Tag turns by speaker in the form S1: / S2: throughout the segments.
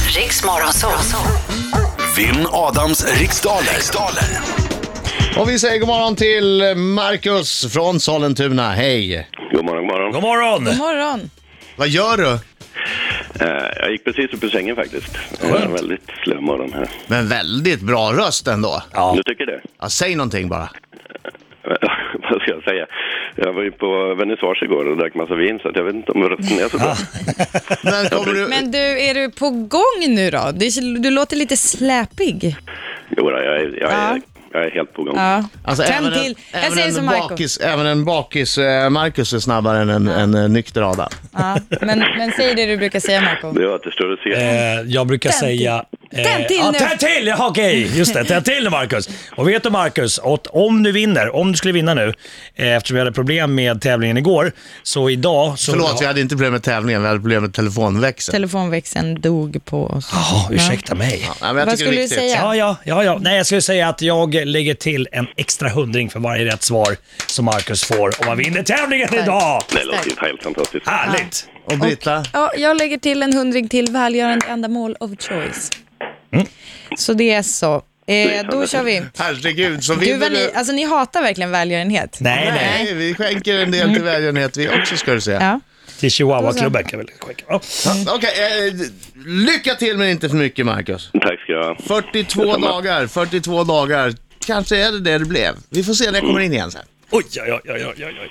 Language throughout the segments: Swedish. S1: Riks Morgonzoo.
S2: Vinn Adams riksdaler. riksdaler.
S3: Och vi säger god morgon till Marcus från Sollentuna. Hej!
S4: God morgon, god morgon.
S5: God morgon!
S6: God morgon.
S3: Vad gör du?
S4: Eh, jag gick precis upp ur sängen faktiskt.
S5: Skönt.
S4: Eh, väldigt slö morgon här.
S3: Men väldigt bra röst ändå.
S5: Ja.
S4: Du tycker det? Eh,
S3: Ja, säg någonting bara.
S4: Vad ska jag säga? Jag var ju på vernissage igår och drack massa vin så att jag vet inte om rösten är så bra.
S3: Men kommer du...
S6: Men du, är du på gång nu då? Det, du låter lite släpig.
S4: Jo, då, jag, är, jag,
S6: Ja.
S4: är, jag är helt på gång.
S6: Ja.
S3: Alltså,
S6: Tänd
S3: även en-
S6: till. Jag
S3: även
S6: säger
S3: en
S6: som Marco.
S3: bakis, Även en bakis eh, Marcus är snabbare än en, en eh, nykter Adam.
S6: Ja. Men, men säg det du brukar säga, Marco.
S4: Det återstår att se.
S5: Eh, jag brukar
S6: Tänd
S5: säga... eh,
S6: Tänd till
S5: ja,
S6: nu.
S5: Tänd till! Jaha, okej. Just det, tänd till nu Marcus. Och vet du Marcus, att om du vinner, om du skulle vinna nu, eh, eftersom vi hade problem med tävlingen igår, så idag... Så
S3: Förlåt, vi hade inte problem med tävlingen, vi hade problem med telefonväxeln.
S6: Telefonväxeln dog på oss.
S5: Jaha, ah, ursäkta mig.
S3: Ja, men jag tycker det är
S6: Vad skulle du
S3: viktigt.
S6: säga?
S5: Ja, ja, ja, ja. Nej, jag skulle säga att jag lägger till en extra hundring för varje rätt svar som Marcus får om han vinner tävlingen idag.
S4: Det låter ju helt fantastiskt.
S5: Härligt!
S3: Och Britta?
S6: Ja, jag lägger till en hundring till välgörande ändamål of choice.
S3: Mm.
S6: Så det är så. Eh, då kör vi.
S3: Herregud, så
S6: Gud
S3: vinner
S6: vad
S3: du...
S6: ni, alltså ni hatar verkligen välgörenhet.
S5: Nej, nej.
S3: Nej, vi skänker en del till välgörenhet vi också ska du säga.
S6: Ja.
S5: Till Chihuahua-klubben kan jag väl skicka. Ja.
S3: Okej, eh, lycka till men inte för mycket Marcus.
S4: Tack ska jag ha.
S3: 42 dagar, 42 dagar. Kanske är det det det blev. Vi får se när jag kommer in igen sen.
S5: Oj, oj, oj, oj, oj, oj.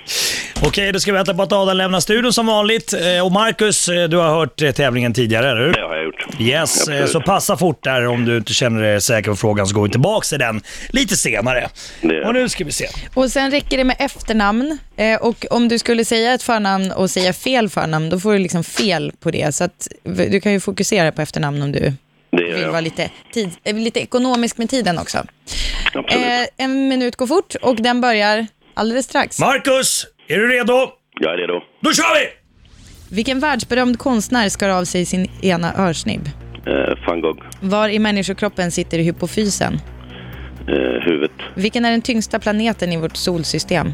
S5: Okej, då ska vi vänta på att Adam lämnar studion som vanligt. Eh, Och Marcus, eh, du har hört eh, tävlingen tidigare, eller
S4: Det
S5: hur?
S4: har jag gjort.
S5: Yes, eh,
S4: Absolut.
S5: så passa fort där om du inte känner dig säker på frågan så går vi tillbaka till den lite senare.
S4: Det-
S5: Och nu ska vi se.
S6: Och sen räcker det med efternamn. Eh, och om du skulle säga ett förnamn och säga fel förnamn, då får du liksom fel på det. Så att v- du kan ju fokusera på efternamn om du
S4: Det
S6: vill
S4: gör
S6: vara
S4: jag.
S6: lite, tid, eh, lite ekonomisk med tiden också.
S4: Absolut.
S6: Eh, en minut går fort och den börjar alldeles strax.
S5: Marcus, är du redo?
S4: Jag är redo.
S5: Då kör vi!
S6: Vilken världsberömd konstnär skar av sig sin ena örsnibb?
S4: Eh, van Gogh,
S6: Var i människokroppen sitter hypofysen?
S4: eh, huvudet,
S6: Vilken är den tyngsta planeten i vårt solsystem?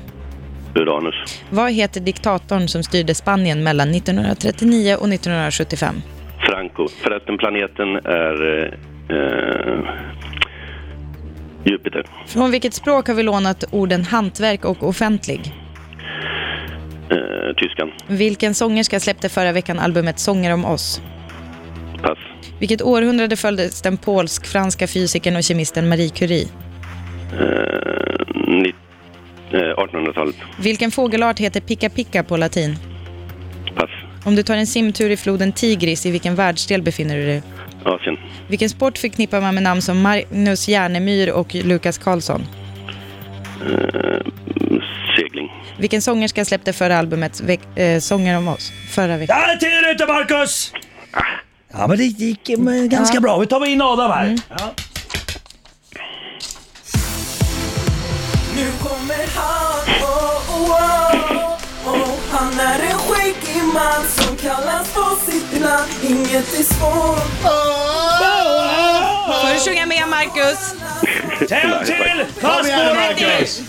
S4: Uranus,
S6: Vad heter diktatorn som styrde Spanien mellan 1939 och 1975?
S4: Franco. Förresten, planeten är eh, eh, Jupiter.
S6: Från vilket språk har vi lånat orden hantverk och offentlig?
S4: Eh, Tyskan.
S6: Vilken sångerska släppte förra veckan albumet Sånger om oss?
S4: Pass.
S6: Vilket århundrade följdes den polsk-franska fysikern och kemisten Marie Curie?
S4: Eh, ni- eh, 1800-talet.
S6: Vilken fågelart heter picca picca på latin?
S4: Pass.
S6: Om du tar en simtur i floden Tigris, i vilken världsdel befinner du dig?
S4: Asien.
S6: Vilken sport förknippar man med namn som Magnus Järnemyr och Lukas Karlsson?
S4: Segling.
S6: Vilken sångerska släppte förra albumet veck- eh, Sånger om oss? Förra veckan.
S5: Där är tiden ute, Marcus! Ja, men det gick eh, ganska bra. Vi tar in Adam här.
S6: Mm.
S5: Ja.
S7: Nu kommer han, oh, oh, oh, oh. Han är en skäggig man som kallas på sitt namn Inget är svårt
S6: Får du sjunga med, Marcus?
S5: Tänd till!
S3: Kom
S5: Pass
S3: igen
S5: på
S3: Marcus!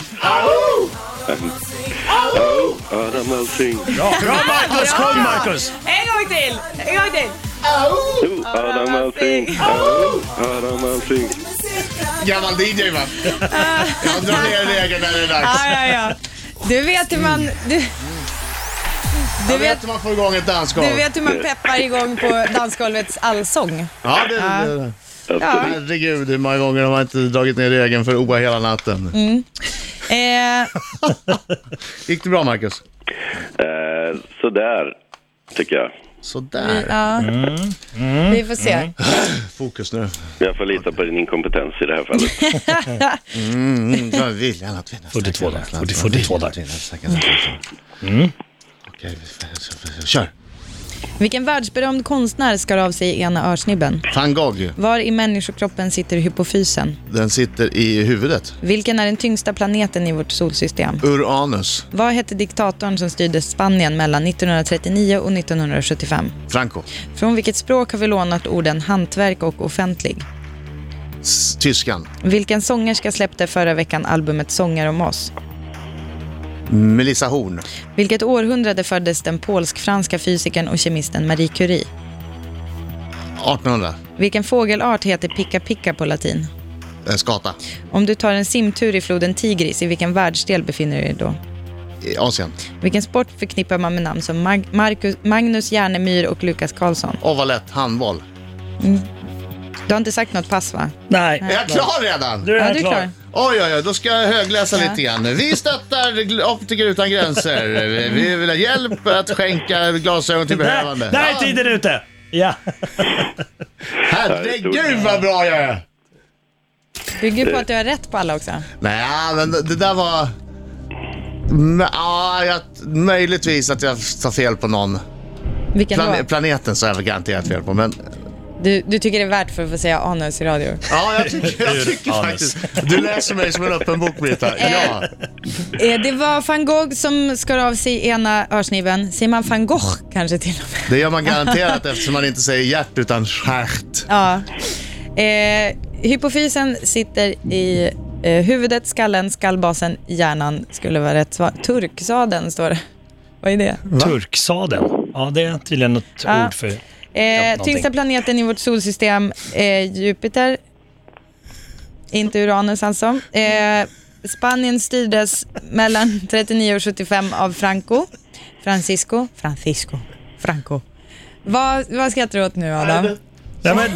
S4: Adam Alsing.
S5: Bra, bra Marcus, kom Marcus!
S6: En gång till! En gång till!
S4: Oh, Adam Alsing. Oh, Adam Alsing.
S3: Gammal DJ va? Jag drar ner regeln när det är dags.
S6: Ja, ja, ja. Du vet hur man... Du, du,
S3: Jag vet
S6: vet,
S3: hur man får igång ett dansgolv.
S6: du vet hur man peppar igång på dansgolvets allsång.
S3: Ja, det, det, det.
S4: Absolut.
S3: Herregud, hur många gånger har man inte dragit ner regeln för OA hela natten?
S6: Eh,
S3: Gick det bra Marcus?
S4: Eh, sådär, tycker jag.
S3: Sådär.
S6: ja. Vi får se.
S3: Fokus nu.
S4: Jag får lita på din inkompetens i det här fallet.
S3: Mm, jag vill gärna att vinna.
S5: 42 dagar. 40, 42 dagar. Mm.
S3: Okej, kör.
S6: Vilken världsberömd konstnär skar av sig ena örsnibben?
S3: Van Gogh,
S6: Var i människokroppen sitter hypofysen?
S3: den sitter i huvudet.
S6: Vilken är den tyngsta planeten i vårt solsystem?
S3: Uranus,
S6: Vad hette diktatorn som styrde Spanien mellan 1939 och 1975?
S3: Franco.
S6: Från vilket språk har vi lånat orden hantverk och offentlig?
S3: S- Tyskan,
S6: Vilken sångerska släppte förra veckan albumet Sånger om oss?
S3: Melissa Horn,
S6: Vilket århundrade föddes den polsk-franska fysikern och kemisten Marie Curie?
S3: 1800.
S6: Vilken fågelart heter picka picka på latin?
S3: Eh, Skata.
S6: Om du tar en simtur i floden Tigris, i vilken världsdel befinner du dig då?
S3: I Asien.
S6: Vilken sport förknippar man med namn som Mag- Marcus, Magnus Järnemyr och Lukas Karlsson?
S3: Åh, vad lätt. Handboll.
S6: Du har inte sagt något pass va?
S5: Nej.
S3: Är jag klar redan?
S5: Du är,
S6: Ja, du är
S5: klar.
S6: klar.
S3: Oj, oj, oj, då ska jag högläsa
S6: Ja.
S3: lite grann. Vi stöttar gl- Optiker Utan Gränser. Vi- Vi vill ha hjälp att skänka glasögon till behövande.
S5: Där, där är tiden ute. Ja.
S3: Herregud vad bra jag är!
S6: Bygger på att du har rätt på alla också.
S3: Nej, men det det där var... M- ja, jag, möjligtvis att jag tar fel på någon.
S6: Vilken
S3: Plane,
S6: låt?
S3: planeten sa jag väl garanterat fel på, men...
S6: Du, du tycker det är värt för att få säga anus i radio?
S3: Ja, jag tycker, jag
S5: Ur
S3: tycker
S5: anus.
S3: faktiskt... Du läser mig som en öppen bok, Brita. Ja.
S6: Eh, det var van Gogh som skar av sig ena örsniven. Säger man van Gogh kanske till och med?
S3: Det gör man garanterat eftersom man inte säger hjärt utan stjärt.
S6: Ja. Eh, hypofysen sitter i eh, huvudet, skallen, skallbasen, hjärnan skulle vara rätt svar. Turksaden står det. Vad är det?
S5: Turksadeln. Ja, det är tydligen något
S6: Ja.
S5: ord för...
S6: Eh,
S5: någonting.
S6: tyngsta planeten i vårt solsystem, eh, Jupiter. Inte Uranus alltså. Eh, Spanien styrdes mellan 39 och 75 av Franco. Francisco. Francisco. Franco. Vad, vad skrattar du åt nu Adam?
S5: Nej, men,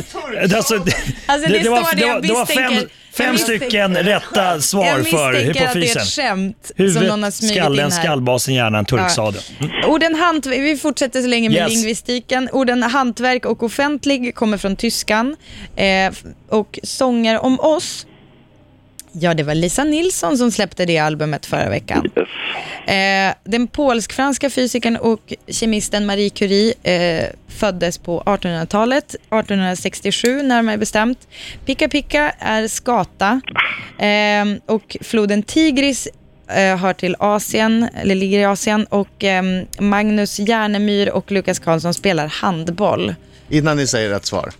S5: alltså, det,
S6: Alltså, det står det, jag
S5: det var
S6: misstänker-
S5: fem,
S6: jag
S5: fem
S6: misstänker-
S5: stycken rätta svar
S6: Jag
S5: för
S6: misstänker att det är
S5: hypofysen.
S6: ett skämt som någon har
S5: Huvudet,
S6: smugit in här.
S5: skallen, skallbasen, hjärnan, turksadeln.
S6: Orden hant- vi fortsätter så länge med
S5: Yes.
S6: lingvistiken. Orden hantverk och offentlig kommer från tyskan. Eh, f- och sånger om oss. Ja, det var Lisa Nilsson som släppte det albumet förra veckan.
S4: Yes.
S6: Eh, den polsk-franska fysikern och kemisten Marie Curie eh, föddes på 1800-talet, 1867 närmare bestämt. Pika Pika är skata eh, och floden Tigris eh, hör till Asien, eller ligger i Asien och ehm, Magnus Järnemyr och Lukas Karlsson spelar handboll.
S3: Innan ni säger rätt svar.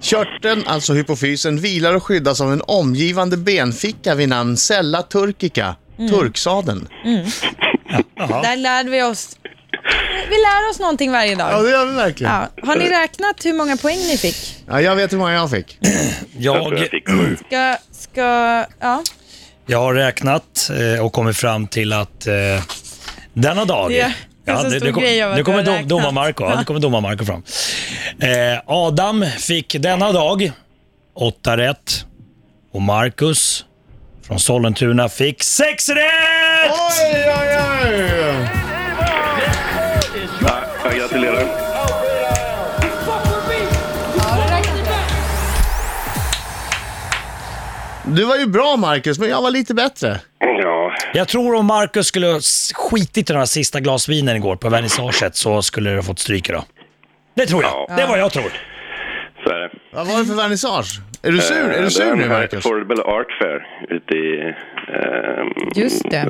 S3: Körteln, alltså hypofysen, vilar och skyddas av en omgivande benficka vid namn sella turkica, turksadeln.
S6: Där lärde vi oss, vi lär oss någonting varje dag.
S3: Ja, det gör vi verkligen.
S6: Ja. Har ni räknat hur många poäng ni fick?
S3: Ja, jag vet hur många jag fick.
S4: Jag tror
S5: Mm. Jag,
S4: jag fick sju.
S6: Ska, ska, ja.
S5: jag har räknat eh, och kommit fram till att eh, denna dag...
S6: Det är en så stor
S5: nu, kom-
S6: grej av att
S5: nu
S6: du har
S5: kommer dom,
S6: räknat.
S5: doma Marco, ja. nu kommer doma Marco fram. Eh, Adam fick denna dag åtta rätt och Marcus från Sollentuna fick sex rätt!
S3: Oj, oj, oj!
S4: Ja, jag gratulerar.
S3: Du var ju bra, Marcus, men jag var lite bättre.
S4: Ja,
S5: Jag tror om Marcus skulle ha s- skitit i de här sista glasvinen igår på vernissaget så skulle du ha fått stryk idag. Det tror jag. Det är vad jag tror.
S4: så är det.
S3: Vad var det för vernissage? Är du sur, är
S4: Eh,
S3: du sur
S4: den
S3: nu,
S4: här
S3: Marcus?
S4: Affordable Art Fair ute i... ehm,
S6: Just det.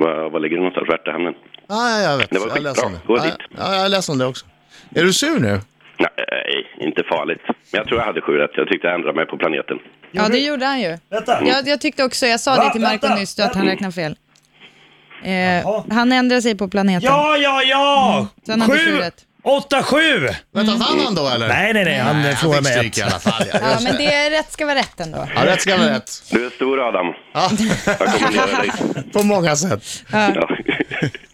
S4: Var, var ligger det någonstans? Värtahamnen?
S3: Ja, jag vet.
S4: Det var
S3: Jag läser om det.
S4: skitbra. Gå
S3: Ja,
S4: dit.
S3: ja, jag läser om det också. Är du sur nu?
S4: Nej, inte farligt. Men jag tror jag hade sju rätt. Jag tyckte jag ändrade mig på planeten.
S6: Ja, det gjorde han ju.
S5: Vänta.
S6: Jag, jag tyckte också, jag sa
S5: Va?
S6: det till Marco
S5: Vänta.
S6: nyss, att han räknade fel.
S5: Jaha.
S6: Eh, han ändrar sig på planeten.
S5: Ja, ja, ja!
S6: Sen Mm. hade du
S5: Sju!
S6: rätt.
S5: Åtta, sju!
S3: Vänta,
S4: Mm.
S3: vann han då, eller?
S5: Nej, nej, nej. Han eh,
S3: han
S5: förlorade
S3: fick
S5: med
S3: stryk
S5: ett.
S3: i alla fall. Ja,
S6: ja
S3: just
S6: men
S3: det.
S6: det är rätt ska vara rätt ändå.
S3: ja rätt ska vara rätt.
S4: Du är stor, Adam.
S3: Ja,
S4: Jag kommenderar dig.
S3: på många sätt.
S4: Ja.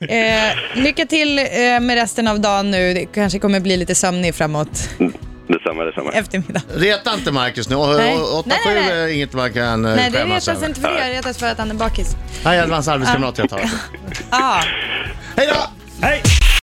S6: Eh, lycka till eh, med resten av dagen nu. Det kanske kommer bli lite sömnig framåt
S4: Detsamma, detsamma.
S6: eftermiddag.
S3: Reta inte Marcus nu.
S6: Nej.
S3: 8-7
S6: Nej, nej, nej.
S3: är inget man kan eh,
S6: Nej, det
S3: skämmas
S6: retas
S3: över.
S6: inte för det. Jag retas för att han är bakis.
S3: Nej, det var hans arbetskamrat jag tar.
S6: Ah.
S3: Hej då!
S5: Hej!